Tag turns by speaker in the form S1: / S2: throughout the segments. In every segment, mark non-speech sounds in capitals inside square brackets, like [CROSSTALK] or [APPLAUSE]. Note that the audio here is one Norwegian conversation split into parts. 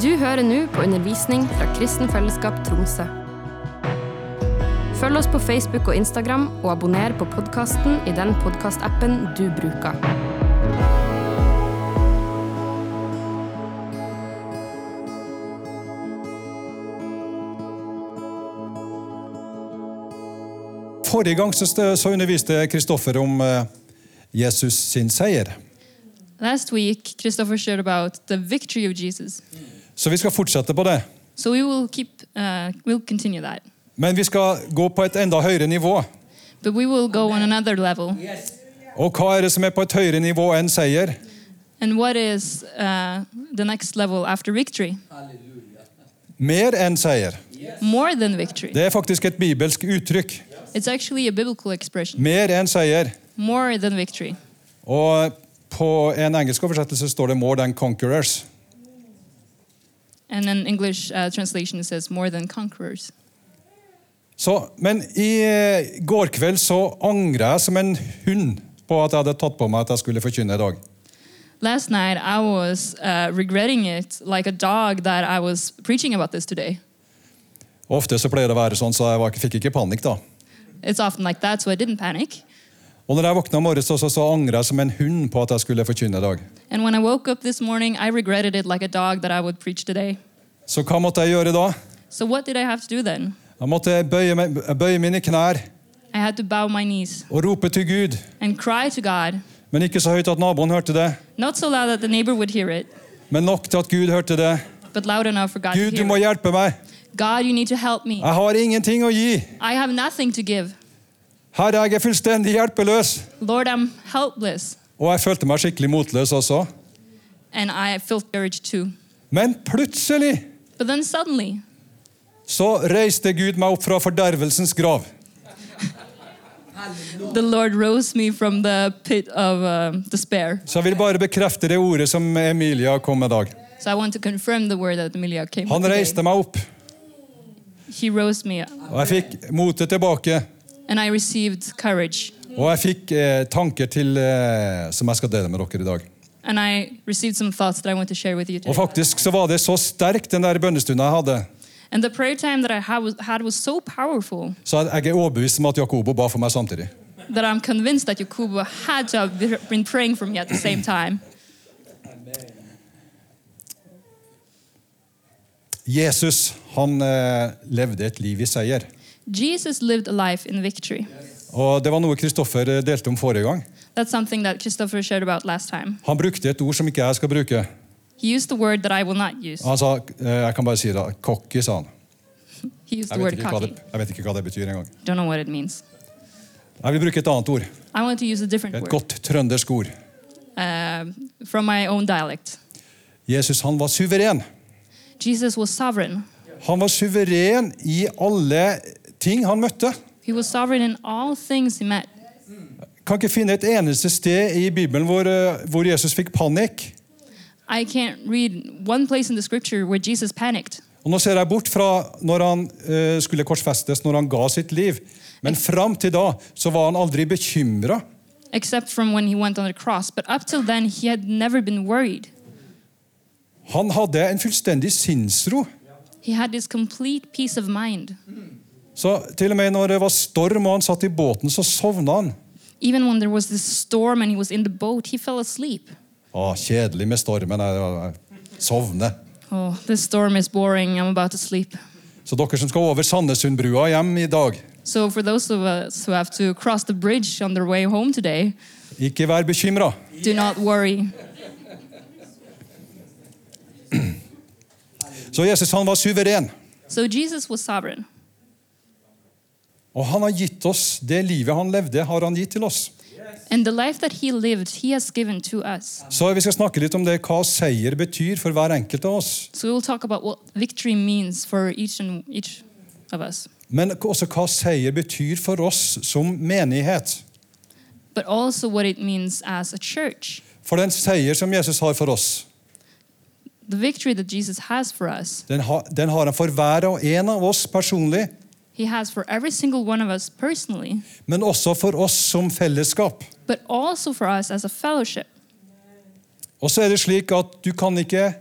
S1: Du hører nå på undervisning fra Kristen Fellesskap Tromsø. Følg oss på Facebook og Instagram, og abonner på podkasten i den podkastappen du bruker.
S2: Forrige gang så, st- så underviste Kristoffer om eh, Jesus sin seier.
S3: Last week, Christopher shared about the victory of Jesus.
S2: Så vi skal fortsette på det.
S3: So we will keep, uh, we'll continue that.
S2: Men vi skal gå på et enda høyere nivå.
S3: But we will go on another level.
S2: Og hva er det som er på et høyere nivå enn seier?
S3: And what is uh, the next level after victory?
S2: Mer enn seier.
S3: More than victory.
S2: Det er faktisk et bibelsk uttrykk.
S3: It's actually a biblical expression.
S2: Mer enn seier.
S3: More than victory.
S2: Og på en engelsk oversettelse står det 'more than conquerors'.
S3: And in English uh, translation, it says more than conquerors.
S2: Så, men i eh, går kveld så angra jeg som en hund på at jeg hadde tatt på meg at jeg skulle forkynne i dag.
S3: Last night, I was uh, regretting it like a dog that I was preaching about this today.
S2: Ofte så pleier det å være sånn, så jeg var, ikke- fikk ikke panikk da.
S3: It's often like that, so I didn't panic.
S2: Og når jeg våkna i morges, også, så angra jeg som en hund på at jeg skulle forkynne i dag.
S3: And when I woke up this morning, I regretted it like a dog that I would preach today.
S2: Så hva måtte jeg gjøre da?
S3: So what did I have to do then?
S2: Jeg måtte bøye, meg- bøye mine knær
S3: I had to bow my knees
S2: og rope til Gud,
S3: and cry to God,
S2: men ikke så høyt at naboen hørte det.
S3: not so loud that the neighbor would hear it,
S2: Men nok til at Gud hørte det.
S3: but loud enough for God
S2: Gud,
S3: to
S2: du
S3: hear.
S2: må
S3: It.
S2: hjelpe meg.
S3: God, you need to help me.
S2: Jeg har ingenting å gi.
S3: I have nothing to give.
S2: Herre, jeg er fullstendig hjelpeløs.
S3: Lord, I'm helpless.
S2: Og jeg følte meg skikkelig motløs også.
S3: And I felt urged too.
S2: Men plutselig
S3: But then suddenly,
S2: så reiste Gud meg opp fra fordervelsens grav.
S3: the Lord rose me from the pit of uh, despair.
S2: Så jeg vil bare bekrefte det ordet som Emilia kom med i dag.
S3: So I want to confirm the word that Emilia came with
S2: Han
S3: today.
S2: reiste meg opp,
S3: He rose me up,
S2: og jeg fikk motet tilbake.
S3: and I received courage.
S2: Og jeg fikk eh, tanker til, eh, som jeg skal dele med dere i dag.
S3: And I received some thoughts that I want to share with you
S2: Og
S3: today.
S2: faktisk så var det så sterkt, den der bønnestunda jeg hadde,
S3: And the prayer time that I ha- was- had was so powerful
S2: så jeg er overbevist om at Jakobo ba for meg samtidig.
S3: that I'm convinced that Yakuba had to have be- been praying for me at the same time.
S2: Jesus han eh, levde et liv i seier.
S3: Jesus lived a life in victory.
S2: Og Det var noe Kristoffer eh, delte om forrige gang.
S3: That's something that Christopher shared about last time.
S2: Han brukte et ord som ikke jeg skal bruke.
S3: He used the word that I will not use.
S2: Han sa, eh, Jeg kan bare si det. Cocky, sa han.
S3: He used the
S2: Jeg vet,
S3: word
S2: ikke hva
S3: cocky.
S2: det, jeg vet ikke hva det betyr engang.
S3: Don't know what it means.
S2: Jeg vil bruke et annet ord.
S3: I want to use a different
S2: Et
S3: word
S2: godt trøndersk ord.
S3: um, from my own dialect.
S2: Jesus han var suveren.
S3: Jesus was sovereign.
S2: Han var suveren i alle ting han møtte.
S3: He was sovereign in all things he met.
S2: kan ikke finne et eneste sted i Bibelen hvor, eh, hvor Jesus fikk panikk.
S3: I can't read one place in the scripture where Jesus panicked.
S2: Og Nå ser jeg bort fra når han eh, skulle korsfestes, når han ga sitt liv. Men fram til da så var han aldri bekymra.
S3: except from when he went on the cross. But up till then, he had never been worried.
S2: Han hadde en fullstendig sinnsro.
S3: He had this complete peace of mind.
S2: Så til og med når det var storm og han satt i båten, så sovna han.
S3: Even when there was this storm and he was in the boat, he fell asleep.
S2: Å, kjedelig med stormen. Jeg, jeg sovner.
S3: Oh, this storm is boring. I'm about to sleep.
S2: Så dere som skal over Sandnessundbrua hjem i dag,
S3: So, for those of us who have to cross the bridge on their way home today,
S2: ikke vær bekymra.
S3: do not worry.
S2: Så Jesus han var suveren.
S3: So, Jesus was sovereign.
S2: Og han har gitt oss det livet han levde, har han gitt til oss.
S3: And the life that he lived, he has given to us.
S2: Så Vi skal snakke litt om det, hva seier betyr for hver enkelt av oss.
S3: So, we will talk about what victory means for each and each of us,
S2: Men også hva seier betyr for oss som menighet.
S3: but also what it means as a church.
S2: For den seier som Jesus har for oss,
S3: the victory that Jesus has for us,
S2: den, ha, den har han for hver og en av oss personlig,
S3: He has for every single one of us personally,
S2: men også for oss som fellesskap.
S3: but also for us as a fellowship.
S2: Og så er det slik at du kan ikke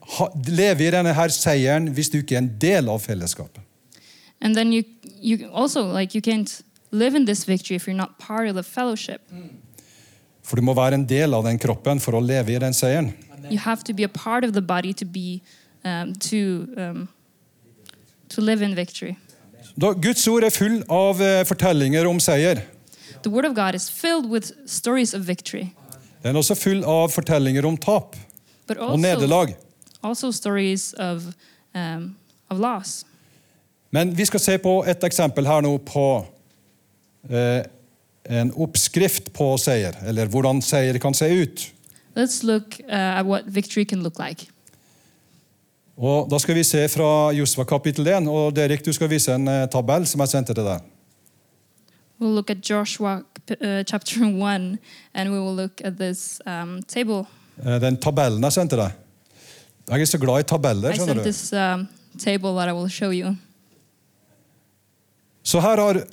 S2: ha, leve i denne her seieren hvis du ikke er en del av fellesskapet.
S3: And then you you also like you can't live in this victory if you're not part of the fellowship.
S2: For du må være en del av den kroppen for å leve i den seieren.
S3: You have to be a part of the body to be um, to um, to live in victory.
S2: Da, Guds ord er full av eh, fortellinger om seier.
S3: The word of God is filled with stories of victory,
S2: Den er også full av fortellinger om tap
S3: but
S2: og
S3: also
S2: nederlag.
S3: also stories of um, of loss.
S2: Men vi skal se på et eksempel her nå på eh, en oppskrift på seier, eller hvordan seier kan se ut.
S3: Let's look uh, at what victory can look like.
S2: Og Da skal vi se fra Josva kapittel 1. Og Derek, du skal vise en eh, tabell som jeg sendte til deg.
S3: We'll look at Joshua uh, chapter [LAUGHS] 1 and we will look at this um, table.
S2: Eh, Den tabellen jeg sendte deg. Jeg er så glad i tabeller.
S3: I
S2: skjønner
S3: sent
S2: du.
S3: this um, table that I will show you.
S2: Så her har jeg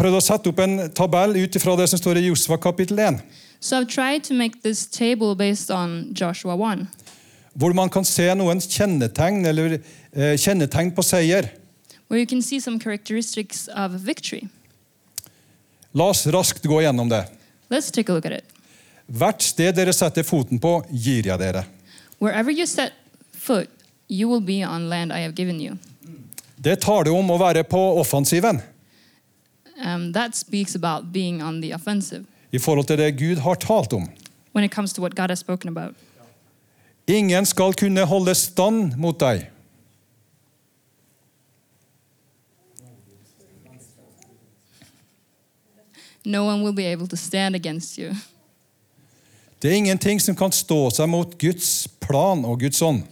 S2: prøvd å sette opp en tabell ut ifra det som står i Josva kapittel 1.
S3: So I've tried to make this table based on Joshua 1,
S2: Hvor man kan se noen kjennetegn, eller, eh, kjennetegn på seier.
S3: where you can see some characteristics of victory.
S2: La oss raskt gå gjennom det.
S3: Let's take a look at it.
S2: Hvert sted dere setter foten på, gir jeg dere.
S3: Wherever you set foot, you will be on land I have given you.
S2: Det tar det om å være på offensiven
S3: Um, that speaks about being on the offensive
S2: i forhold til det Gud har talt om.
S3: when it comes to what God has spoken about.
S2: Ingen skal kunne holde stand mot deg.
S3: No one will be able to stand against you.
S2: Det er ingenting som kan stå seg mot Guds plan og Guds ånd.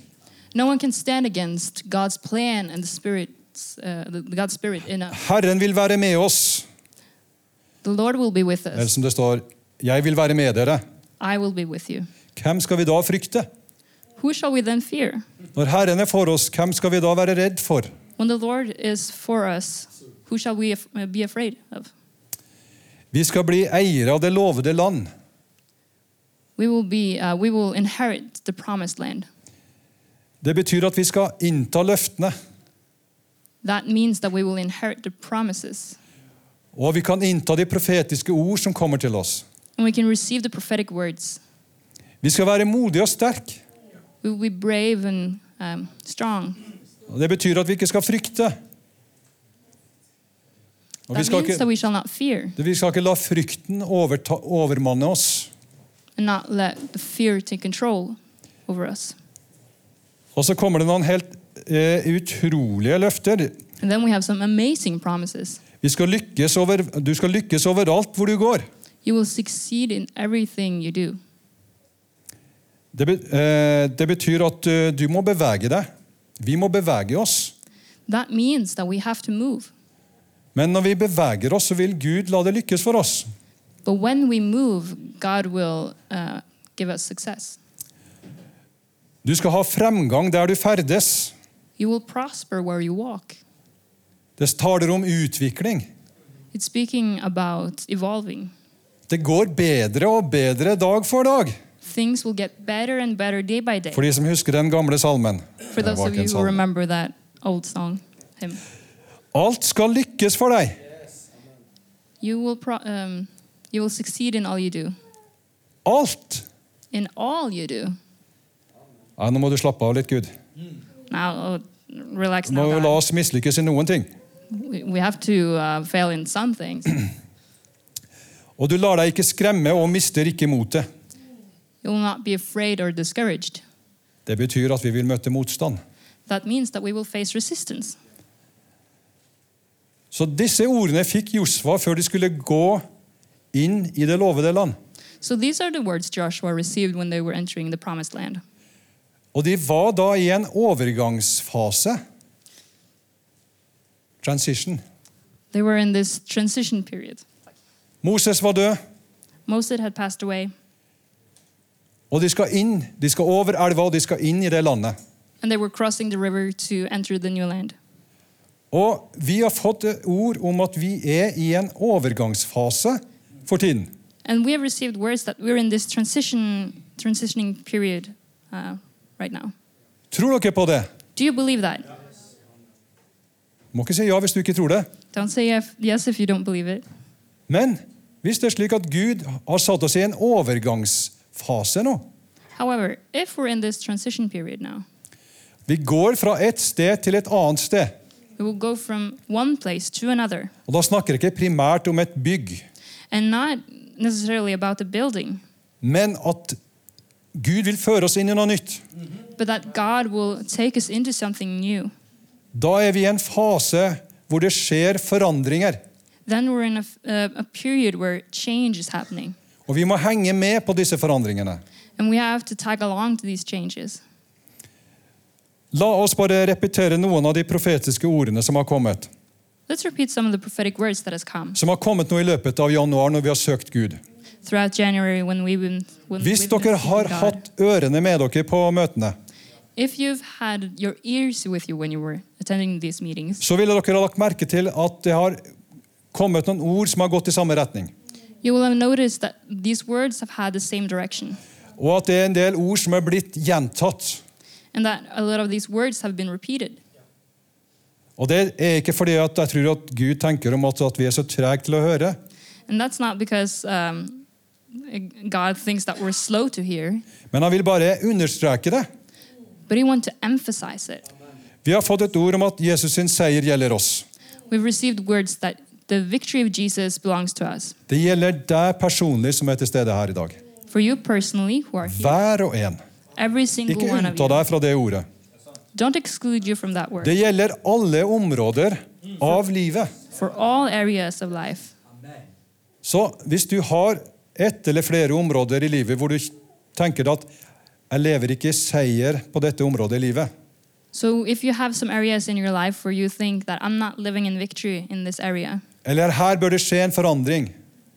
S3: No one can stand against God's plan and the Spirit's, uh, the, the God's Spirit in us.
S2: Herren vil være med oss.
S3: The Lord will be with
S2: Eller
S3: us.
S2: som det står, jeg vil være med dere.
S3: I will be with you.
S2: Hvem skal vi da frykte?
S3: Who shall we then fear?
S2: Når Herren er for oss, hvem skal vi da være redd for?
S3: When the Lord is for us, who shall we af- uh, be afraid of?
S2: Vi skal bli eiere av det lovede land.
S3: We will be. Uh, we will inherit the promised land.
S2: Det betyr at vi skal innta løftene,
S3: That means that we will inherit the promises,
S2: og vi kan innta de profetiske ord som kommer til oss.
S3: and we can receive the prophetic words.
S2: Vi skal være modige og sterke.
S3: We will be brave and um, strong.
S2: Og Det betyr at vi ikke skal frykte. Og vi
S3: That
S2: skal
S3: means that
S2: ikke,
S3: we shall not fear
S2: vi skal ikke la frykten overta, overmanne oss.
S3: and not let the fear take control over us.
S2: Og så kommer det noen helt eh, utrolige løfter.
S3: And then we have some amazing promises.
S2: Vi skal lykkes over, du skal lykkes overalt hvor du går.
S3: You will succeed in everything you do.
S2: Det, be, eh, det betyr at eh, du må bevege deg. Vi må bevege oss.
S3: That means that we have to move.
S2: Men når vi beveger oss, så vil Gud la det lykkes for oss.
S3: But when we move, God will uh, give us success.
S2: Du skal ha fremgang der du ferdes.
S3: You will prosper where you walk.
S2: Det taler om utvikling.
S3: It's speaking about evolving.
S2: Det går bedre og bedre dag for dag.
S3: Things will get better and better day by day.
S2: For de som husker den gamle salmen.
S3: For
S2: Det
S3: those
S2: var
S3: of
S2: ikke
S3: you
S2: en
S3: who
S2: salme.
S3: remember that old song, hymn,
S2: Alt skal lykkes for deg.
S3: you will pro- um, you will succeed in all you do.
S2: Alt.
S3: In all you do.
S2: Nei, nå må du slappe av litt, Gud.
S3: Now, oh, relax.
S2: Du må
S3: Now,
S2: jo
S3: God.
S2: la oss mislykkes i noen ting.
S3: we, we have to uh, fail in some things.
S2: Og du lar deg ikke skremme og mister ikke motet.
S3: you will not be afraid or discouraged.
S2: Det betyr at vi vil møte motstand.
S3: That means that we will face resistance.
S2: Så disse ordene fikk Josva før de skulle gå inn i det lovede land.
S3: So these are the words Joshua received when they were entering the promised land.
S2: Og de var da i en overgangsfase. Transition.
S3: They were in this transition period.
S2: Moses var død,
S3: Moses had passed away,
S2: og de skal inn. De skal over elva, og de skal inn i det landet.
S3: and they were crossing the river to enter the new land.
S2: Og vi har fått ord om at vi er i en overgangsfase for tiden.
S3: And we have received words that we're in this transition, transitioning period uh, right now.
S2: Tror dere på det?
S3: Do you believe that?
S2: Må ikke si ja hvis du ikke tror det.
S3: Don't say if- yes if you don't believe it.
S2: Men hvis det er slik at Gud har satt oss i en overgangsfase nå
S3: However, if we're in this transition period now,
S2: Vi går fra et sted til et annet sted.
S3: we will go from one place to another
S2: Og da snakker jeg ikke primært om et bygg,
S3: and not necessarily about the building,
S2: men at Gud vil føre oss inn i noe nytt.
S3: but that God will take us into something new.
S2: Da er vi i en fase hvor det skjer forandringer.
S3: Then we're in a, f- uh, a period where change is happening
S2: Og vi må henge med på disse forandringene.
S3: and we have to tag along to these changes.
S2: La oss bare repetere noen av de profetiske ordene som har kommet.
S3: Let's repeat some of the prophetic words that has come
S2: Som har kommet nå i løpet av januar når vi har søkt Gud.
S3: throughout January when we've been when
S2: Hvis
S3: we've been
S2: dere
S3: seeking
S2: har
S3: God.
S2: hatt ørene med dere på møtene,
S3: If you've had your ears with you when you were attending these meetings,
S2: så ville dere ha lagt merke til at det har kommet noen ord som har gått i samme retning.
S3: you will have noticed that these words have had the same direction
S2: Og at det er en del ord som er blitt gjentatt.
S3: and that a lot of these words have been repeated.
S2: Og det er ikke fordi at jeg tror at Gud tenker om at, at vi er så trege til å høre,
S3: And that's not because um, God thinks that we're slow to hear,
S2: men han vil bare understreke det.
S3: but He wants to emphasize it.
S2: Vi har fått et ord om at Jesus sin seier gjelder oss.
S3: We've received words that the victory of Jesus belongs to us.
S2: Det gjelder deg personlig som er til stede her i dag.
S3: For you personally, who are here,
S2: Hver og en.
S3: every single
S2: Ikke
S3: one of
S2: unnta
S3: you.
S2: deg fra det ordet.
S3: Don't exclude you from that
S2: Det
S3: word.
S2: gjelder alle områder av livet.
S3: For all areas of life.
S2: Så hvis du har ett eller flere områder i livet hvor du tenker at jeg lever ikke i seier på dette området i livet,
S3: So if you have some areas in your life where you think that I'm not living in victory in this area,
S2: eller her bør det skje en forandring,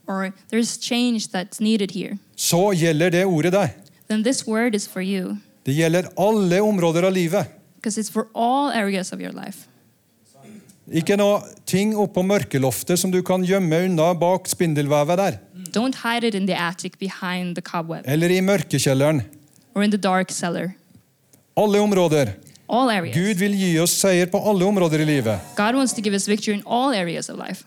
S3: or there's change that's needed here,
S2: så gjelder det ordet deg.
S3: then this word is for you
S2: Det gjelder alle områder av livet.
S3: because it's for all areas of your life.
S2: Ikke noe ting oppå mørkeloftet som du kan gjemme unna bak spindelvevet der.
S3: Don't hide it in the attic behind the cobweb
S2: Eller i mørkekjelleren.
S3: or in the dark cellar.
S2: Alle områder.
S3: All areas.
S2: Gud vil gi oss seier på alle områder i livet.
S3: God wants to give us victory in all areas of life.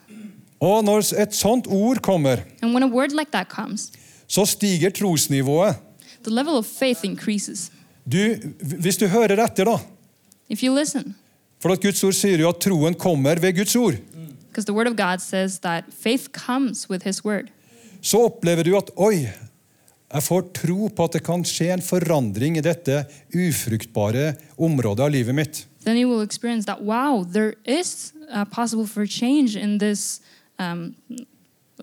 S2: Og når et sånt ord kommer,
S3: And when a word like that comes,
S2: så stiger trosnivået.
S3: the level of faith increases.
S2: Du, hvis du hører etter, da.
S3: If you listen,
S2: For at Guds ord sier jo at troen kommer ved Guds ord.
S3: because the word of God says that faith comes with his word.
S2: Så opplever du at oi, jeg får tro på at det kan skje en forandring i dette ufruktbare området av livet mitt.
S3: Then you will experience that wow, there is uh, possible for change in this um,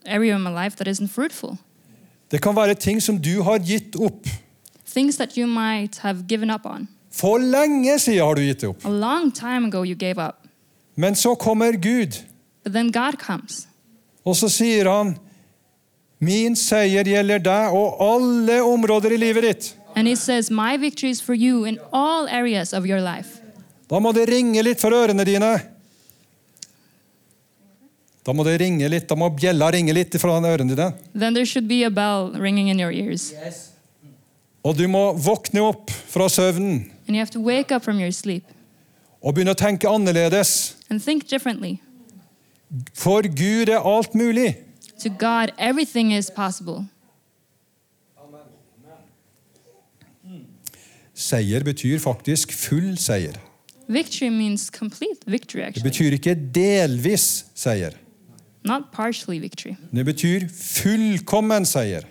S3: area of my life that isn't fruitful.
S2: Det kan være ting som du har gitt opp.
S3: Things that you might have given up on.
S2: For lenge siden har du gitt det opp.
S3: A long time ago you gave up,
S2: Men så kommer Gud,
S3: but then God comes.
S2: og så sier han Min seier gjelder deg og alle områder i livet ditt.
S3: And he says, My victory is for you in all areas of your life.
S2: Da må det ringe litt for ørene dine. Da må det ringe litt, da må bjella ringe litt fra ørene dine.
S3: Then there should be a bell ringing in your ears.
S2: Og du må våkne opp fra søvnen
S3: And you have to wake up from your sleep
S2: og begynne å tenke annerledes.
S3: and think differently.
S2: For Gud er alt mulig.
S3: To God, everything is possible.
S2: Seier betyr faktisk full seier.
S3: Victory means complete victory,
S2: Det
S3: actually,
S2: betyr ikke delvis seier.
S3: not partially victory,
S2: Det betyr fullkommen seier.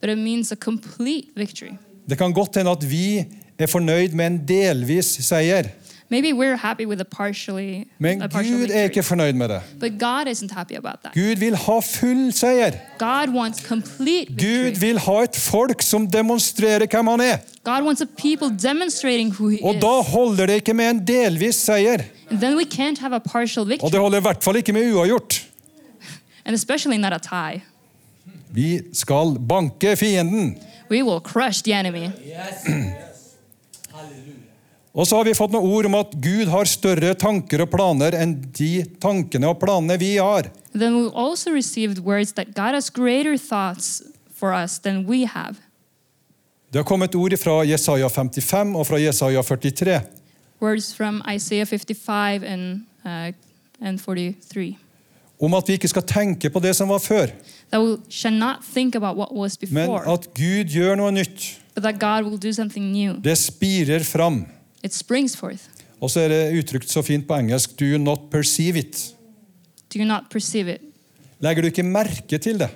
S3: but it means a complete victory.
S2: Det kan godt hende at vi er fornøyd med en delvis seier,
S3: Maybe we're happy with a partially,
S2: men
S3: a partial
S2: Gud er ikke
S3: victory,
S2: fornøyd med det.
S3: but God isn't happy about that.
S2: Gud vil ha full seier.
S3: God wants complete
S2: Gud
S3: victory.
S2: vil ha et folk som demonstrerer hvem han er.
S3: God wants a people demonstrating who He
S2: Og da
S3: is.
S2: holder det ikke med en delvis seier.
S3: And then we can't have a partial
S2: Og
S3: victory,
S2: det holder i hvert fall ikke med uavgjort.
S3: and especially not a tie.
S2: Vi skal banke fienden.
S3: We will crush the enemy.
S2: Og så har vi fått noen ord om at Gud har større tanker og planer enn de tankene og planene vi har.
S3: Then we also received words that God has greater thoughts for us than we have.
S2: Det har kommet ord fra Jesaja 55 og fra Jesaja 43.
S3: Words from Isaiah 55 and, uh, and 43.
S2: om at vi ikke skal tenke på det som var før,
S3: That we shall not think about what was
S2: men
S3: before,
S2: at Gud gjør noe nytt.
S3: but that God will do something new.
S2: Det spirer fram.
S3: It springs forth.
S2: Og så er det uttrykt så fint på engelsk Do you not perceive it.
S3: Do you not perceive it?
S2: Legger du ikke merke til det?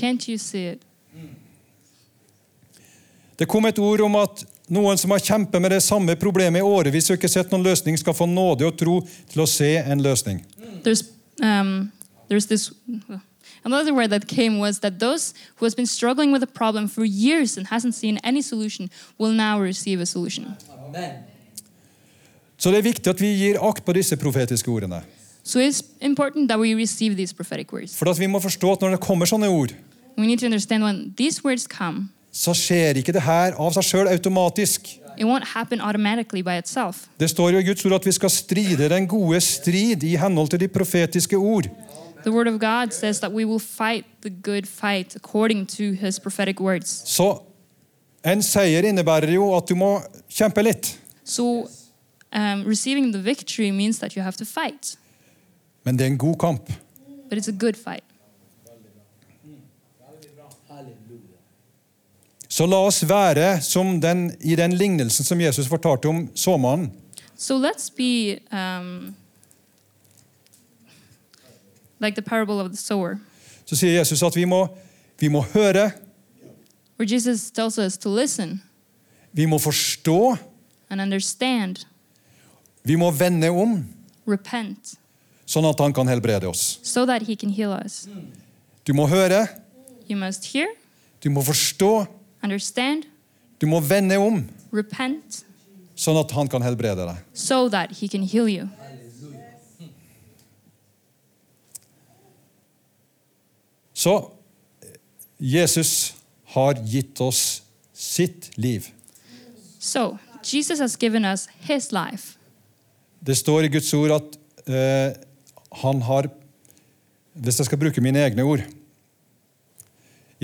S3: Can't you see it?
S2: Det kom et ord om at noen som har kjempet med det samme problemet i årevis og ikke sett noen løsning, skal få nåde og tro til å se en løsning.
S3: There's um, there's this another word that came was that those who has been struggling with a problem for years and hasn't seen any solution will now receive a solution.
S2: Så det er viktig at vi gir akt på disse profetiske ordene.
S3: So it's important that we receive these prophetic words.
S2: For at vi må forstå at når det kommer sånne ord,
S3: We need to understand when these words come,
S2: så skjer ikke det her av seg sjøl automatisk.
S3: it won't happen automatically by itself.
S2: Det står jo i Guds ord at vi skal stride den gode strid i henhold til de profetiske ord.
S3: The word of God says that we will fight the good fight according to his prophetic words.
S2: Så en seier innebærer jo at du må kjempe litt.
S3: So um, receiving the victory means that you have to fight,
S2: Men det er en god kamp.
S3: but it's a good fight.
S2: Så la oss være som den, i den lignelsen som Jesus fortalte om såmannen.
S3: So let's be um, like the parable of the sower,
S2: Så sier Jesus at vi må, vi må høre,
S3: where Jesus tells us to listen
S2: vi må forstå,
S3: and understand,
S2: vi må vende om,
S3: repent,
S2: sånn at han kan helbrede oss.
S3: so that he can heal us.
S2: Du må høre,
S3: You must hear,
S2: du må forstå,
S3: understand,
S2: du må vende om,
S3: repent,
S2: sånn at han kan helbrede deg.
S3: so that he can heal you.
S2: Så eh, Jesus har gitt oss sitt liv.
S3: So Jesus has given us his life.
S2: Det står i Guds ord at eh, han har Hvis jeg skal bruke mine egne ord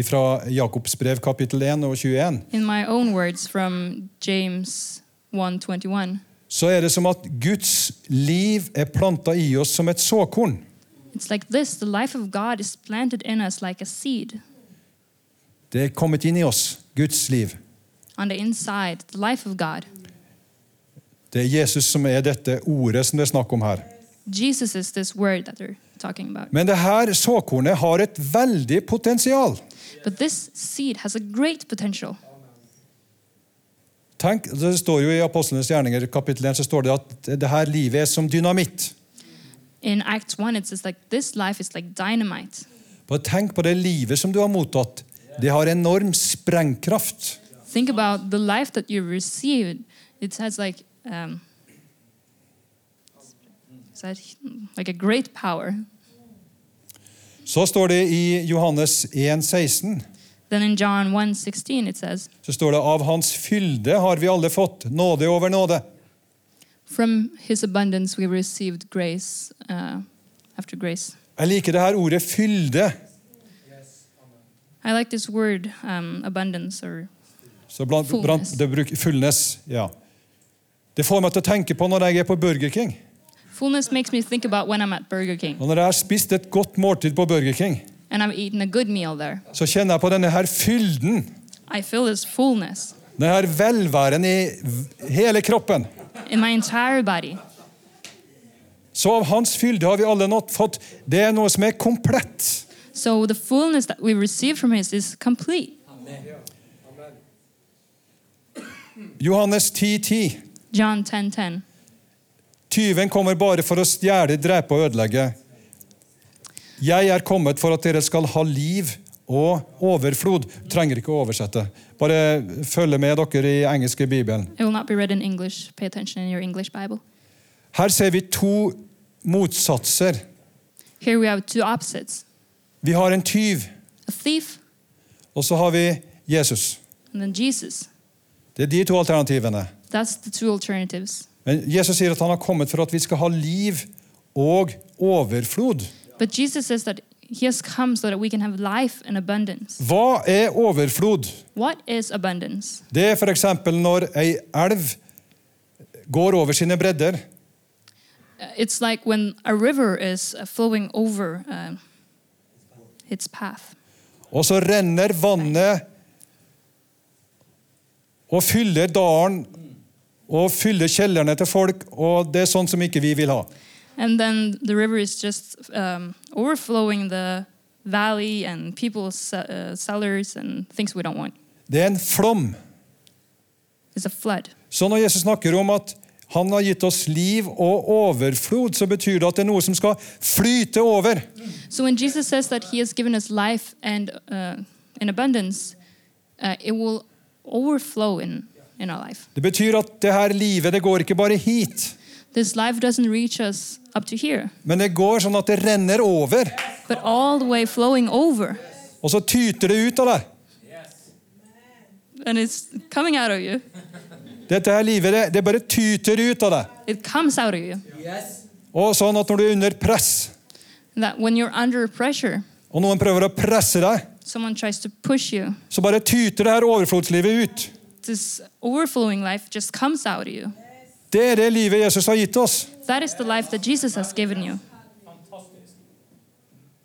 S2: Fra Jakobs brev kapittel 1 og 21,
S3: In my own words from James 1:21,
S2: så er det som at Guds liv er planta i oss som et såkorn.
S3: it's like this: the life of God is planted in us like a seed
S2: Det er kommet inn i oss, Guds liv.
S3: on the inside. The life of God.
S2: Det er Jesus som er dette ordet som det er snakk om her.
S3: Jesus is this word that they're talking about.
S2: Men det her såkornet har et veldig potensial.
S3: But this seed has a great potential.
S2: Tenk, det står jo I Apostlenes gjerninger kapittel 1 så står det at det her livet er som dynamitt.
S3: In Acts 1, it says, like, this life is like dynamite.
S2: Bare tenk på det livet som du har mottatt. Det har enorm sprengkraft.
S3: Think about the life that you received. It has, like, um, is that, like a great power.
S2: Så står det i Johannes 1,16
S3: Then in John 1 16, it says,
S2: så står det av hans fylde har vi alle fått nåde over nåde.
S3: From his abundance we received grace uh, after grace.
S2: Jeg liker det her ordet fylde.
S3: I like this word, um, abundance, or
S2: Så blant, blant,
S3: Fullness.
S2: det bruk, fullness. Ja. Det får meg til å tenke på når jeg er på Burger King.
S3: fullness makes me think about when I'm at Burger King
S2: Og når jeg har spist et godt måltid på Burger King,
S3: and I've eaten a good meal there.
S2: så kjenner jeg på denne her fylden.
S3: I feel this fullness
S2: Denne her velværen i v- hele kroppen.
S3: in my entire body.
S2: Så av hans fylde har vi alle nått fått. Det er noe som er komplett.
S3: So the fullness that we receive from His is complete.
S2: Johannes 10,10. 10.
S3: John 10 10.
S2: Tyven kommer bare for å stjele, drepe og ødelegge. Jeg er kommet for at dere skal ha liv og overflod. Trenger ikke å oversette. Bare følge med dere i engelske bibelen.
S3: It will not be read in English. Pay attention in your English Bible.
S2: Her ser vi to motsatser.
S3: Here we have two opposites
S2: Vi har en tyv,
S3: a thief
S2: og så har vi Jesus.
S3: and then Jesus.
S2: Det er de to alternativene.
S3: That's the two alternatives.
S2: Men Jesus sier at han har kommet for at vi skal ha liv og overflod.
S3: But Jesus says that He has come so that we can have life in abundance.
S2: Hva er overflod?
S3: What is abundance?
S2: Det er f.eks. når ei elv går over sine bredder.
S3: Uh, It's like when a river is uh, flowing over uh, its path,
S2: Og så renner vannet og fyller dalen og fyller kjellerne til folk, og det er sånn som ikke vi vil ha.
S3: and then the river is just um, overflowing the valley and people's ce- uh, cellars and things we don't want.
S2: Det er en flom.
S3: It's a flood.
S2: Så når Jesus snakker om at han har gitt oss liv og overflod, så betyr det at det er noe som skal flyte over.
S3: So when Jesus says that He has given us life and uh, in abundance, uh, it will overflow in in our life.
S2: Det betyr at det her livet det går ikke bare hit,
S3: This life doesn't reach us up to here,
S2: men det går sånn at det renner over.
S3: but all the way flowing over,
S2: Og så tyter det ut av deg.
S3: and it's coming out of you.
S2: Dette her livet det, det bare tyter ut av deg.
S3: It comes out of you.
S2: Og sånn at når du er under press,
S3: That when you're under pressure,
S2: og noen prøver å presse deg,
S3: someone tries to push you.
S2: så bare tyter det her overflodslivet ut.
S3: This overflowing life just comes out of you.
S2: Det er det livet Jesus har gitt oss.
S3: That is the life that Jesus has given you.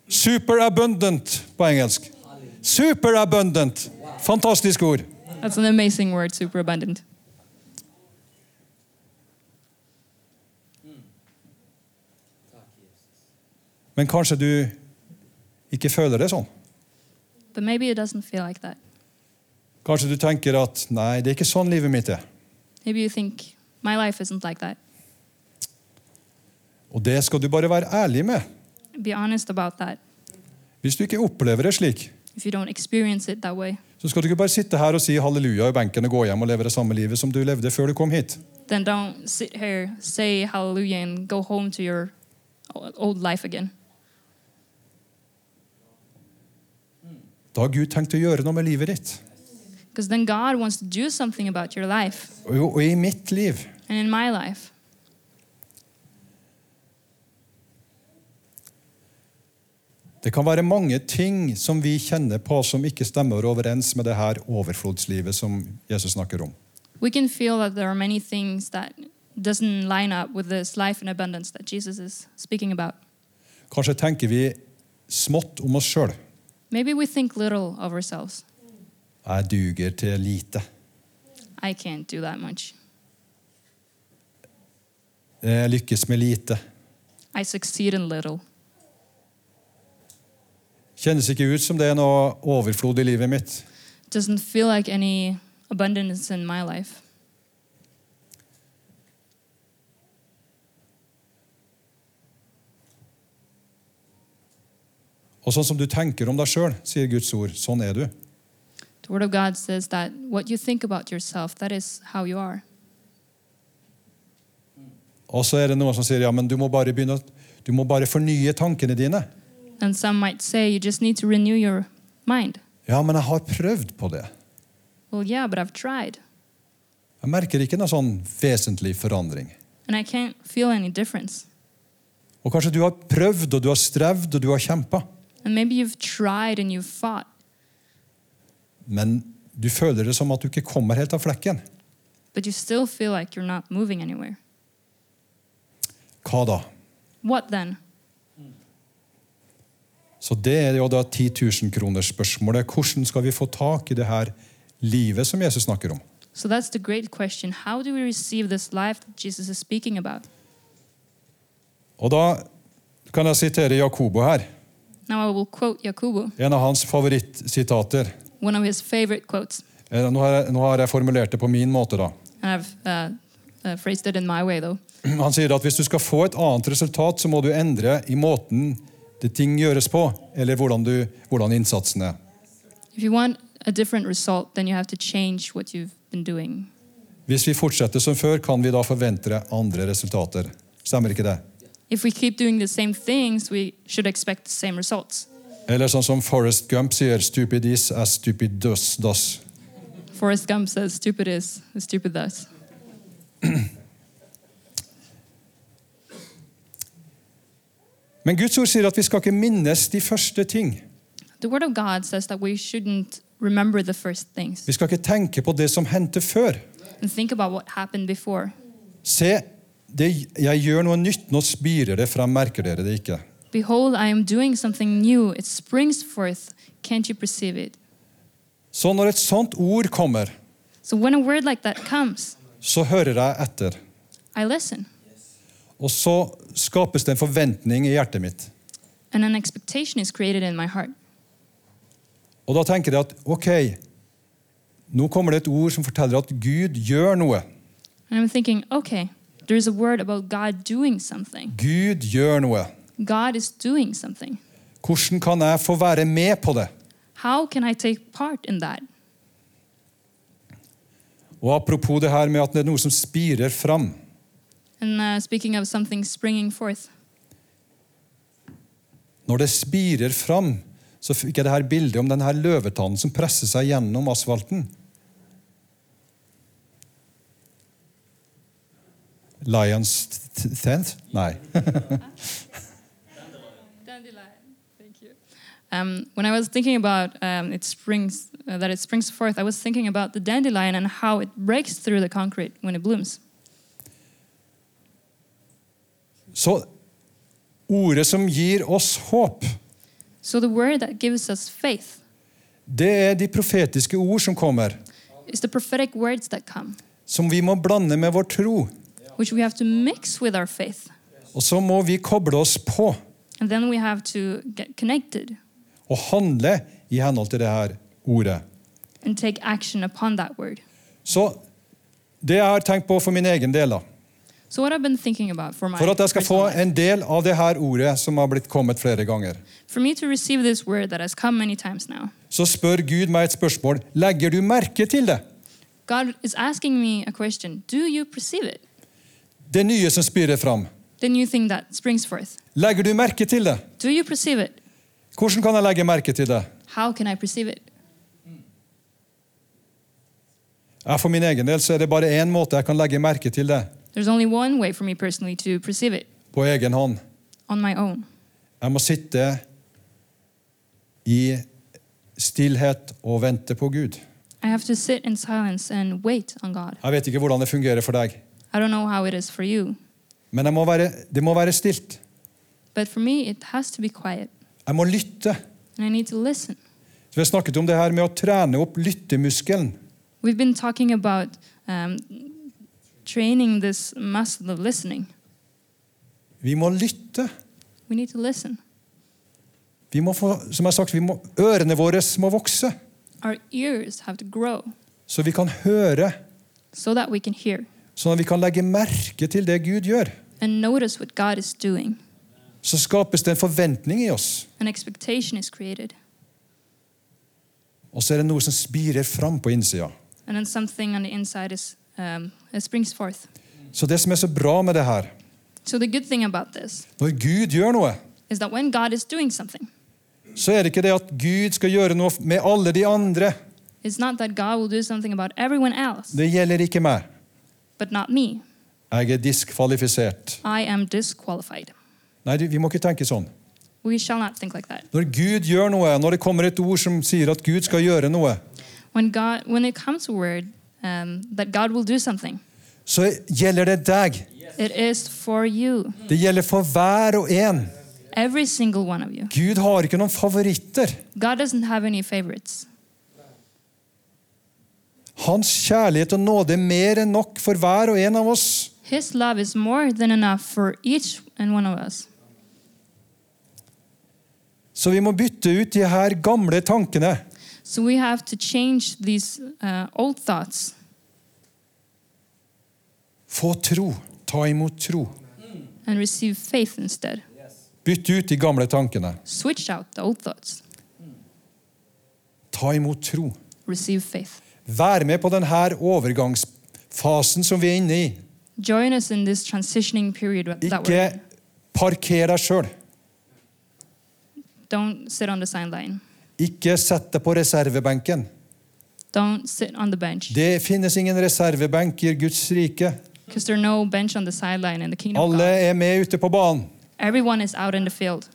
S2: Superabundant på engelsk. Superabundant. Fantastisk ord.
S3: That's an amazing word, superabundant.
S2: Men kanskje du ikke føler det sånn.
S3: But maybe it doesn't feel like that.
S2: Kanskje du tenker at nei, det er ikke sånn livet mitt er.
S3: Maybe you think, my life isn't like that.
S2: Og det skal du bare være ærlig med.
S3: Be honest about that.
S2: Hvis du ikke opplever det slik,
S3: If you don't experience it that way,
S2: så skal du ikke bare sitte her og si halleluja i benken og gå hjem og leve det samme livet som du levde før du kom hit.
S3: then don't sit here, say hallelujah, and go home to your o- old life again.
S2: Da har Gud tenkt å gjøre noe med livet ditt.
S3: Because then God wants to do something about your life
S2: Og, og i mitt liv.
S3: and in my life.
S2: Det kan være mange ting som vi kjenner på som ikke stemmer overens med det her overflodslivet som Jesus snakker om.
S3: We can feel that there are many things that doesn't line up with this life in abundance that Jesus is speaking about.
S2: Kanskje tenker vi smått om oss sjøl.
S3: Maybe we think little of ourselves.
S2: Jeg duger til lite.
S3: I can't do that much.
S2: Jeg lykkes med lite.
S3: I succeed in little.
S2: Kjennes ikke ut som det er noe overflod i livet mitt.
S3: Doesn't feel like any abundance in my life.
S2: Og sånn som du tenker om deg sjøl, sier Guds ord, sånn er du.
S3: The Word of God says that what you think about yourself, that is how you are.
S2: Og så er det noen som sier ja, men du må bare begynne å du må bare fornye tankene dine.
S3: And some might say you just need to renew your mind.
S2: Ja, men jeg har prøvd på det.
S3: Well, yeah, but I've tried
S2: Jeg merker ikke noe sånn vesentlig forandring.
S3: and I can't feel any difference.
S2: Og kanskje du har prøvd, og du har strevd, og du har kjempa,
S3: And maybe you've tried and you've fought,
S2: men du føler det som at du ikke kommer helt av flekken.
S3: but you still feel like you're not moving anywhere.
S2: Hva da?
S3: What then?
S2: Så det er jo da 10 000 kroners spørsmålet. Hvordan skal vi få tak i det her livet som Jesus snakker om?
S3: So that's the great question. How do we receive this life that Jesus is speaking about?
S2: Og da kan jeg sitere Jakobo her.
S3: Now I will quote Jakubu,
S2: En av hans favorittsitater.
S3: one of his favorite quotes,
S2: Eh, Nå har, jeg, nå har jeg formulert det på min måte, da.
S3: and I've uh, uh, phrased it in my way though.
S2: [CLEARS THROAT] Han sier at hvis du skal få et annet resultat, så må du endre i måten det ting gjøres på, eller hvordan, du, hvordan innsatsen er.
S3: If you want a different result, then you have to change what you've been doing.
S2: Hvis vi fortsetter som før, kan vi da forvente andre resultater. Stemmer ikke det?
S3: If we keep doing the same things, we should expect the same results.
S2: Eller sånn som Forrest Gump sier, 'stupid is as stupid does does'.
S3: Forrest Gump says, stupid is, stupid thus.
S2: Men Guds ord sier at vi skal ikke minnes de første ting.
S3: The Word of God says that we shouldn't remember the first things
S2: Vi skal ikke tenke på det som hendte før.
S3: and think about what happened before.
S2: Se, det, jeg gjør noe nytt, nå spirer det frem, merker dere det ikke?
S3: Behold, I am doing something new. It springs forth. Can't you perceive it?
S2: Så når et sånt ord kommer,
S3: So when a word like that comes,
S2: så hører jeg etter.
S3: I listen,
S2: Og så skapes det en forventning i hjertet mitt.
S3: and an expectation is created in my heart.
S2: Og da tenker jeg at ok, nå kommer det et ord som forteller at Gud gjør noe.
S3: And I'm thinking, okay, there's a word about God doing something.
S2: Gud gjør noe.
S3: God is doing something.
S2: Hvordan kan jeg få være med på det?
S3: How can I take part in that?
S2: Og apropos det her med at det er noe som spirer fram.
S3: And uh, speaking of something springing forth,
S2: Når det spirer fram, så fikk jeg det her bildet om denne løvetannen som presser seg gjennom asfalten. Lions 10th? Nei.
S3: Dandelion. Thank you. Um, when I was thinking about um, it springs uh, that it springs forth, I was thinking about the dandelion and how it breaks through the concrete when it blooms.
S2: Så ordet som gir oss håp,
S3: So the word that gives us faith
S2: det er de profetiske ord som kommer,
S3: is the prophetic words that come,
S2: som vi må blande med vår tro.
S3: which we have to mix with our faith,
S2: Og så må vi koble oss på
S3: and then we have to get connected
S2: og handle i henhold til det her ordet.
S3: and take action upon that word.
S2: Så det jeg har tenkt på for min egen del da,
S3: So what I've been thinking about for my
S2: For at jeg skal få
S3: personal life-
S2: en del av det her ordet som har blitt kommet flere ganger,
S3: for me to receive this word that has come many times now,
S2: så spør Gud meg et spørsmål. Legger du merke til det?
S3: God is asking me a question: Do you perceive it?
S2: Det nye som spyrer fram.
S3: The new thing that springs forth.
S2: Legger du merke til det?
S3: Do you perceive it?
S2: Hvordan kan jeg legge merke til det?
S3: How can I perceive it?
S2: Ja, for min egen del så er det bare én måte jeg kan legge merke til det
S3: There's only one way for me personally to perceive it
S2: på egen hånd.
S3: on my own.
S2: Jeg må sitte i stillhet og vente på Gud.
S3: I have to sit in silence and wait on God.
S2: Jeg vet ikke hvordan det fungerer for deg,
S3: I don't know how it is for you,
S2: men jeg må være, det må være stilt.
S3: but for me, it has to be quiet
S2: Jeg må lytte.
S3: and I need to listen.
S2: Så vi har snakket om det her med å trene opp lyttemuskelen.
S3: We've been talking about um, training this muscle of listening.
S2: Vi må lytte.
S3: We need to listen.
S2: Vi må få, som jeg har sagt, vi må, Ørene våre må vokse,
S3: Our ears have to grow
S2: så vi kan høre.
S3: so that we can hear
S2: Sånn at vi kan legge merke til det Gud gjør.
S3: and notice what God is doing.
S2: Så skapes det en forventning i oss,
S3: An expectation is created,
S2: og så er det noe som spirer fram på innsida.
S3: and then something on the inside is um, it springs forth.
S2: Så det som er så bra med det her,
S3: So the good thing about this
S2: når Gud gjør noe,
S3: is that when God is doing something,
S2: så er det ikke det at Gud skal gjøre noe med alle de andre.
S3: it's not that God will do something about everyone else,
S2: Det gjelder ikke meg.
S3: but not me.
S2: Jeg er diskvalifisert.
S3: I am disqualified.
S2: Nei, du, vi må ikke tenke sånn.
S3: We shall not think like that.
S2: Når Gud gjør noe, når det kommer et ord som sier at Gud skal gjøre noe,
S3: When God, when it comes to word um, that God will do something,
S2: så gjelder det deg.
S3: it is for you,
S2: Det gjelder for hver og en.
S3: every single one of you.
S2: Gud har ikke noen favoritter.
S3: God doesn't have any favorites.
S2: Hans kjærlighet og nåde er mer enn nok for hver og en av oss.
S3: His love is more than enough for each and one of us.
S2: Så vi må bytte ut de her gamle tankene.
S3: So we have to change these uh, old thoughts.
S2: Få tro. Ta imot tro.
S3: and receive faith instead.
S2: Bytte ut de gamle tankene.
S3: Switch out the old thoughts,
S2: Ta imot tro.
S3: receive faith.
S2: Vær med på denne overgangsfasen som vi er inne i.
S3: Join us in this transitioning period that we're
S2: Ikke
S3: in.
S2: parker deg sjøl.
S3: Don't sit on the sideline.
S2: Ikke sett deg på reservebenken.
S3: Don't sit on the bench
S2: Det finnes ingen reservebenk i Guds rike.
S3: because there's no bench on the sideline in the kingdom of
S2: Alle
S3: God.
S2: er med ute på banen.
S3: Everyone is out in the field.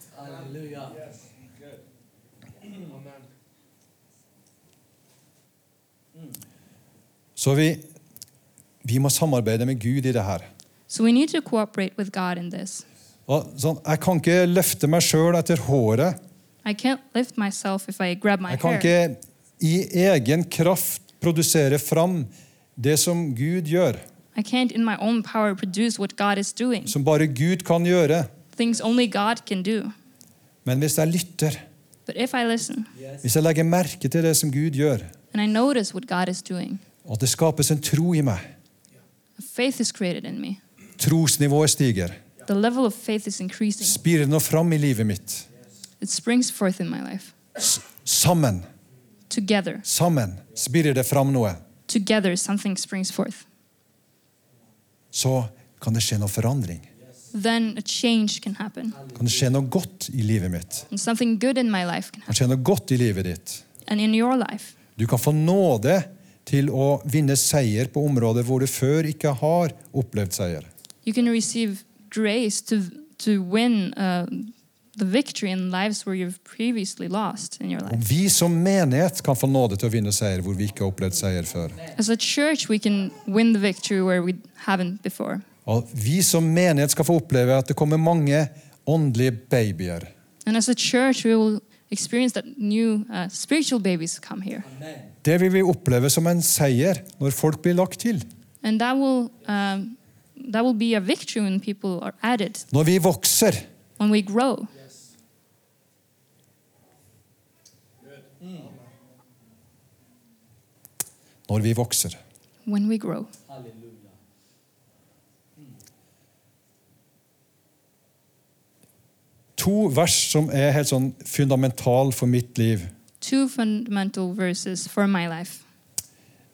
S2: Så vi, vi må samarbeide med Gud i det her.
S3: So we need to cooperate with God in this.
S2: Og sånn, jeg kan ikke løfte meg sjøl etter håret.
S3: I can't lift myself if I grab my
S2: Jeg kan
S3: hair.
S2: ikke i egen kraft produsere fram det som Gud gjør,
S3: I can't in my own power produce what God is doing.
S2: som bare Gud kan gjøre.
S3: Things only God can do.
S2: Men hvis jeg lytter,
S3: But if I listen
S2: hvis jeg legger merke til det som Gud gjør,
S3: and I notice what God is doing,
S2: og at det skapes en tro i meg,
S3: faith is created in me.
S2: trosnivået stiger,
S3: The level of faith is increasing.
S2: spirer noe fram i livet mitt.
S3: It springs forth in my life.
S2: S sammen,
S3: Together,
S2: sammen spirer det fram noe.
S3: together, something springs forth.
S2: Så kan det skje noe forandring.
S3: Then a change can happen.
S2: Kan det skje noe godt i livet mitt?
S3: And something good in my life can
S2: Kan
S3: happen.
S2: det skje noe godt i livet ditt?
S3: And in your life,
S2: Du kan få nåde til å vinne seier på områder hvor du før ikke har opplevd seier.
S3: you can receive grace to, to win uh, the victory in lives where you've previously lost in your
S2: Og
S3: life.
S2: vi som menighet kan få nåde til å vinne seier hvor vi ikke har opplevd seier før.
S3: As a church, we can win the victory where we haven't before.
S2: Og vi som menighet skal få oppleve at det kommer mange åndelige babyer.
S3: And as a church, we will experience that new uh, spiritual babies come here.
S2: Det vil vi oppleve som en seier når folk blir lagt til.
S3: And that will, um, that will be a victory when people are added,
S2: Når vi vokser,
S3: when we grow.
S2: når vi vokser.
S3: When we grow.
S2: To vers som er helt sånn fundamental for mitt liv.
S3: Two fundamental verses for my life.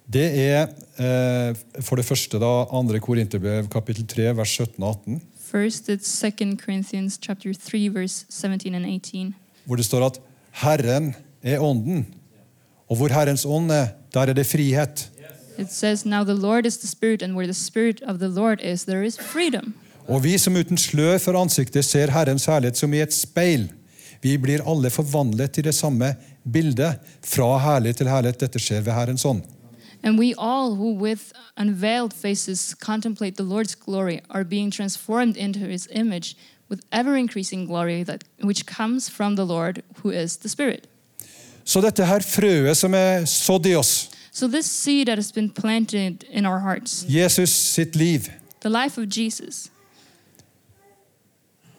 S2: Det er eh, for det første da 2. Korinterbrev kapittel 3 vers 17 og 18,
S3: First, it's Second Corinthians chapter 3, verse 17 and 18.
S2: hvor det står at Herren er ånden, og hvor Herrens ånd er, der er det frihet.
S3: It says, Now the Lord is the Spirit, and where the Spirit of the Lord is, there is freedom.
S2: Og vi som uten slør for ansiktet ser Herrens herlighet som i et speil. Vi blir alle forvandlet til det samme bildet, fra herlighet til herlighet. Dette skjer ved Herrens ånd.
S3: And we all who with unveiled faces contemplate the Lord's glory are being transformed into his image with ever increasing glory that which comes from the Lord who is the Spirit.
S2: Så dette her frøet som er sådd i oss,
S3: So this seed that has been planted in our hearts,
S2: Jesus sitt liv,
S3: the life of Jesus,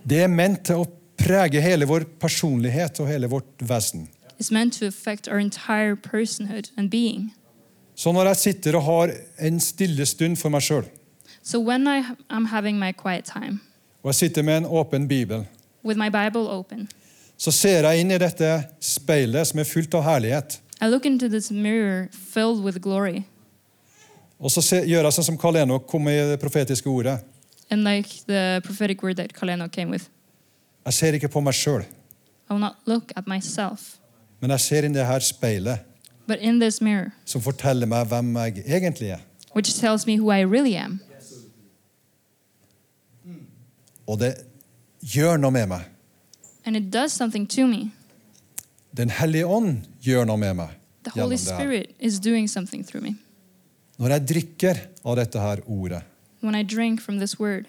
S2: det er ment til å prege hele vår personlighet og hele vårt vesen.
S3: is meant to affect our entire personhood and being.
S2: Så når jeg sitter og har en stille stund for meg sjøl,
S3: So when I ha- am having my quiet time
S2: og jeg sitter med en åpen bibel,
S3: with my Bible open,
S2: så ser jeg inn i dette speilet som er fullt av herlighet.
S3: I look into this mirror filled with glory,
S2: Og så se- gjør jeg sånn som Karl Enok kom med i det profetiske ordet.
S3: and like the prophetic word that Kaleno came with,
S2: Jeg ser ikke på meg sjøl,
S3: I will not look at myself,
S2: men jeg ser inn i det her speilet
S3: but in this mirror,
S2: som forteller meg hvem jeg egentlig er.
S3: which tells me who I really am.
S2: Og det gjør noe med meg.
S3: And it does something to me.
S2: Den hellige ånd gjør noe med meg.
S3: The
S2: gjennom
S3: Holy
S2: det her.
S3: Spirit is doing something through me
S2: Når jeg drikker av dette her ordet.
S3: when I drink from this word.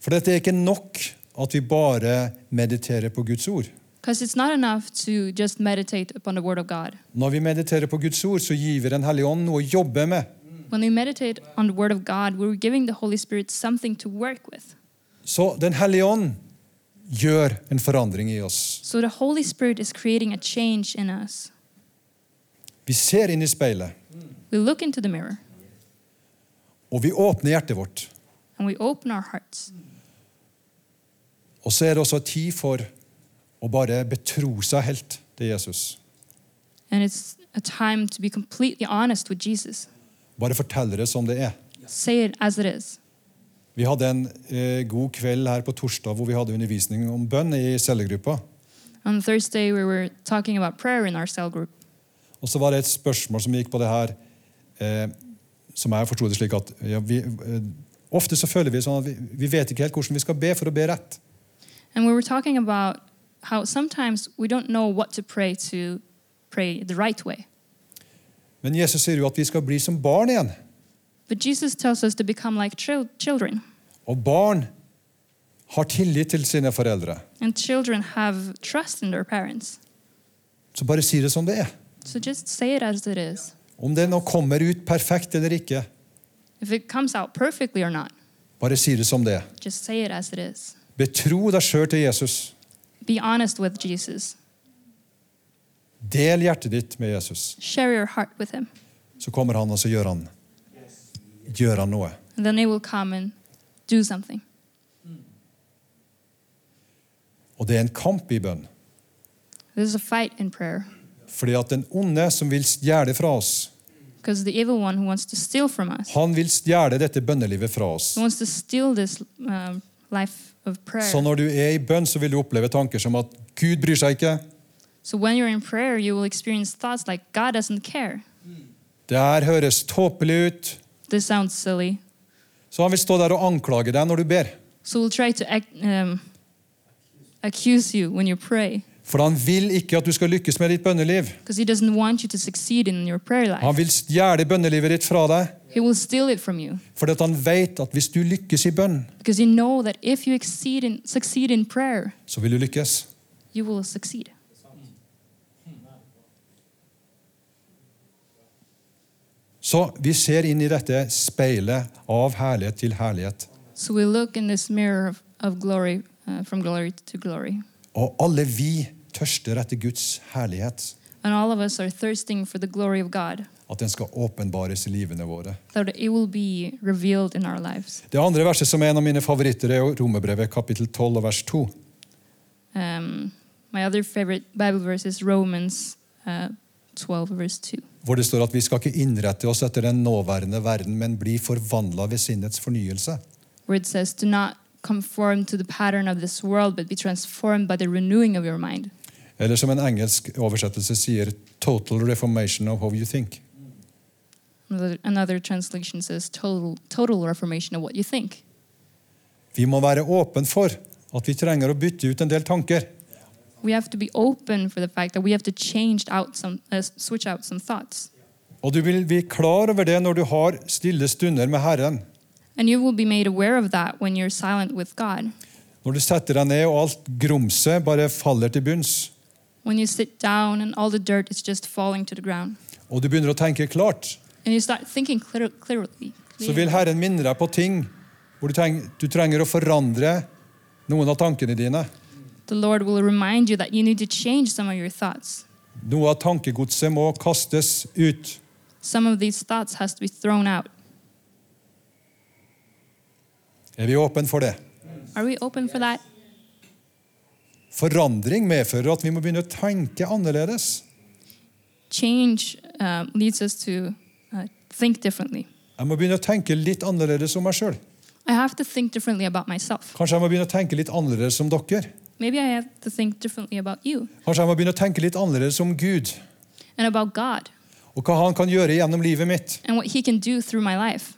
S2: For dette er ikke nok at vi bare mediterer på Guds ord.
S3: Because it's not enough to just meditate upon the Word of God.
S2: Når vi mediterer på Guds ord, så gir vi Den hellige ånd noe å jobbe med.
S3: When we meditate on the Word of God, we're giving the Holy Spirit something to work with.
S2: Så Den hellige ånd gjør en forandring i oss.
S3: So the Holy Spirit is creating a change in us.
S2: Vi ser inn i speilet,
S3: We look into the mirror
S2: og vi åpner hjertet vårt.
S3: and we open our hearts.
S2: Og så er det også tid for å bare betro seg helt til Jesus.
S3: And it's a time to be completely honest with Jesus.
S2: Bare fortelle det som det er.
S3: Say it as it is.
S2: Vi hadde en eh, god kveld her på torsdag hvor vi hadde undervisning om bønn i cellegruppa.
S3: On Thursday, we were talking about prayer in our cell group.
S2: Og så var det et spørsmål som gikk på det her, eh, som jeg forsto det slik at ja, vi, eh, Ofte så føler vi sånn at vi, vi vet ikke helt hvordan vi skal be for å be rett.
S3: And we were talking about how sometimes we don't know what to pray to pray the right way.
S2: Men Jesus sier jo at vi skal bli som barn igjen.
S3: But Jesus tells us to become like chil- children,
S2: Og barn har tillit til sine foreldre.
S3: and children have trust in their parents.
S2: Så bare si det som det er.
S3: So just say it as it is.
S2: Om det nå kommer ut perfekt eller ikke,
S3: If it comes out perfectly or not,
S2: bare si det som det er.
S3: just say it as it is.
S2: Betro deg sjøl til Jesus.
S3: Be honest with Jesus.
S2: Del hjertet ditt med Jesus.
S3: Share your heart with him.
S2: Så kommer han, og så gjør han, gjør han noe.
S3: And then he will come and do something.
S2: Og det er en kamp i bønn.
S3: This is a fight in prayer
S2: Fordi at den onde som vil stjele fra oss,
S3: because the evil one who wants to steal from us,
S2: han vil stjele dette bønnelivet fra oss.
S3: who wants to steal this um, life of prayer.
S2: Så når du er i bønn, så vil du oppleve tanker som at Gud bryr seg ikke.
S3: So when you're in prayer, you will experience thoughts like God doesn't care.
S2: Det her høres tåpelig ut.
S3: This sounds silly.
S2: Så han vil stå der og anklage deg når du ber.
S3: So we'll try to ac- um, accuse you when you pray
S2: For han vil ikke at du skal lykkes med ditt bønneliv.
S3: because he doesn't want you to succeed in your prayer life.
S2: Han vil stjele bønnelivet ditt fra deg.
S3: He will steal it from you
S2: Fordi at han vet at hvis du lykkes i bønn,
S3: because you know that if you exceed in, succeed in prayer,
S2: så vil du lykkes.
S3: you will succeed.
S2: Så vi ser inn i dette speilet av herlighet til herlighet.
S3: So we look in this mirror of, of glory, uh, from glory to glory.
S2: Og alle vi tørster etter Guds herlighet.
S3: And all of us are thirsting for the glory of God,
S2: At den skal åpenbares i livene våre.
S3: that it will be revealed in our lives.
S2: Det andre verset som er en av mine favoritter, er jo Romerbrevet kapittel 12 og vers 2.
S3: Um, my other favorite Bible verse is Romans uh, 12, verse 2.
S2: Hvor det står at vi skal ikke innrette oss etter den nåværende verden, men bli forvandla ved sinnets fornyelse.
S3: where it says, Do not conform to the pattern of this world, but be transformed by the renewing of your mind.
S2: Eller som en engelsk oversettelse sier, 'total reformation of how you think'.
S3: Another, another translation says, total, total reformation of what you think.
S2: Vi må være åpen for at vi trenger å bytte ut en del tanker.
S3: We have to be open for the fact that we have to change out some, uh, switch out some thoughts.
S2: Og du vil bli klar over det når du har stille stunder med Herren.
S3: And you will be made aware of that when you're silent with God.
S2: Når du setter deg ned og alt grumset bare faller til bunns.
S3: When you sit down and all the dirt is just falling to the ground.
S2: Og du begynner å tenke klart.
S3: And you start thinking clear, clearly.
S2: Så vil Herren minne deg på ting hvor du, treng, du trenger å forandre noen av tankene dine.
S3: The Lord will remind you that you need to change some of your thoughts.
S2: Noe av tankegodset må kastes ut.
S3: Some of these thoughts has to be thrown out.
S2: Er vi åpne for det?
S3: Are we open for that?
S2: Forandring medfører at vi må begynne å tenke annerledes.
S3: Change um, leads us to uh, think differently.
S2: Jeg må begynne å tenke litt annerledes om meg sjøl.
S3: I have to think differently about myself.
S2: Kanskje jeg må begynne å tenke litt annerledes om dere.
S3: Maybe I have to think differently about you
S2: Kanskje jeg må begynne å tenke litt annerledes om Gud
S3: and about God
S2: og hva Han kan gjøre gjennom livet mitt.
S3: and what He can do through my life.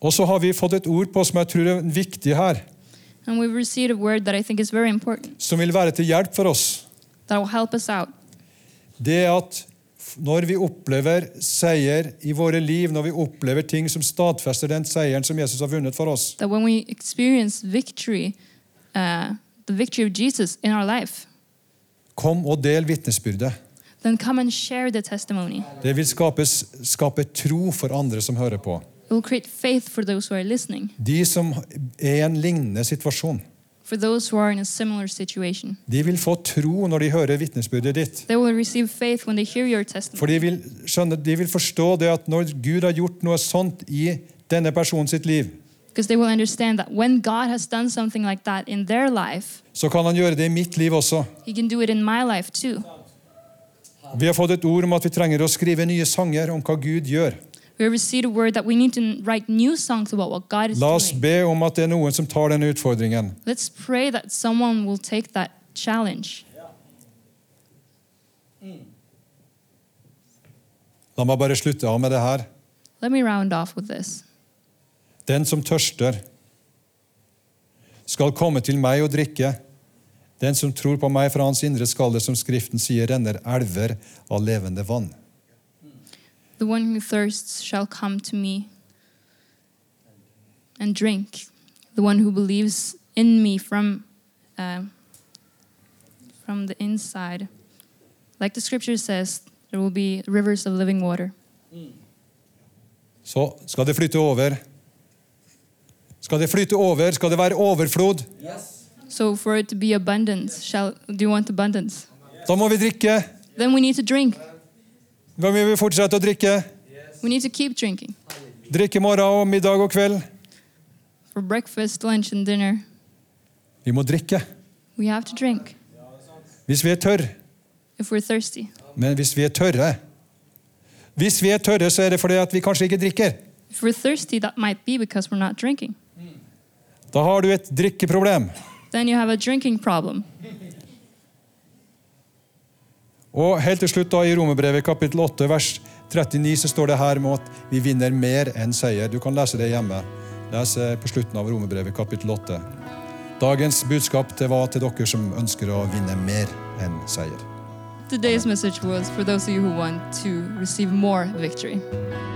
S2: Og så har vi fått et ord på som jeg tror er viktig her,
S3: And we've received a word that I think is very important
S2: som vil være til hjelp for oss.
S3: that will help us out.
S2: det at f- når vi opplever seier i våre liv, når vi opplever ting som stadfester den seieren som Jesus har vunnet for oss,
S3: That when we experience victory, uh, the victory of Jesus in our life,
S2: kom og del vitnesbyrdet.
S3: then come and share the testimony.
S2: Det vil skapes, skape tro for andre som hører på.
S3: It will create faith for those who are listening,
S2: De som er i en lignende situasjon,
S3: for those who are in a similar situation.
S2: de vil få tro når de hører vitnesbyrdet ditt.
S3: They will receive faith when they hear your testimony.
S2: For de vil, skjønne, de vil forstå det at når Gud har gjort noe sånt i denne personen sitt liv,
S3: Because they will understand that when God has done something like that in their life,
S2: så kan han gjøre det i mitt liv også.
S3: He can do it in my life too.
S2: Vi har fått et ord om at vi trenger å skrive nye sanger om hva Gud gjør.
S3: We have received a word that we need to write new songs about what God is
S2: La oss
S3: doing.
S2: be om at det er noen som tar denne utfordringen.
S3: Let's pray that someone will take that challenge.
S2: La meg bare slutte av med det her.
S3: Let me round off with this.
S2: Den som tørster, skal komme til meg og drikke. Den som tror på meg fra hans indre skalle, som Skriften sier, renner elver av levende vann.
S3: The one who thirsts shall come to me and drink. The one who believes in me from uh, from the inside, like the scripture says, there will be rivers of living water.
S2: Så skal det flytte over. Skal det flytte over? Skal det være overflod?
S3: So for it to be abundance, shall do you want abundance?
S2: Da må vi drikke.
S3: Then we need to drink.
S2: Da må vi fortsette å drikke.
S3: We need to keep drinking
S2: Drikke morgen og middag og kveld.
S3: for breakfast, lunch, and dinner.
S2: Vi må drikke
S3: We have to drink
S2: hvis vi er tørre.
S3: if we're thirsty.
S2: Men hvis vi er tørre Hvis vi er tørre, så er det fordi at vi kanskje ikke drikker.
S3: If we're thirsty, that might be because we're not drinking.
S2: Da har du et drikkeproblem.
S3: Then you have a drinking problem.
S2: Og helt til slutt da I Romerbrevet kapittel 8 vers 39 så står det her med at vi vinner mer enn seier. Du kan lese det hjemme. Les eh, på slutten av Romerbrevet kapittel 8. Dagens budskap det var til dere som ønsker å vinne mer enn seier.
S3: Today's message was for those of you who want to receive more victory.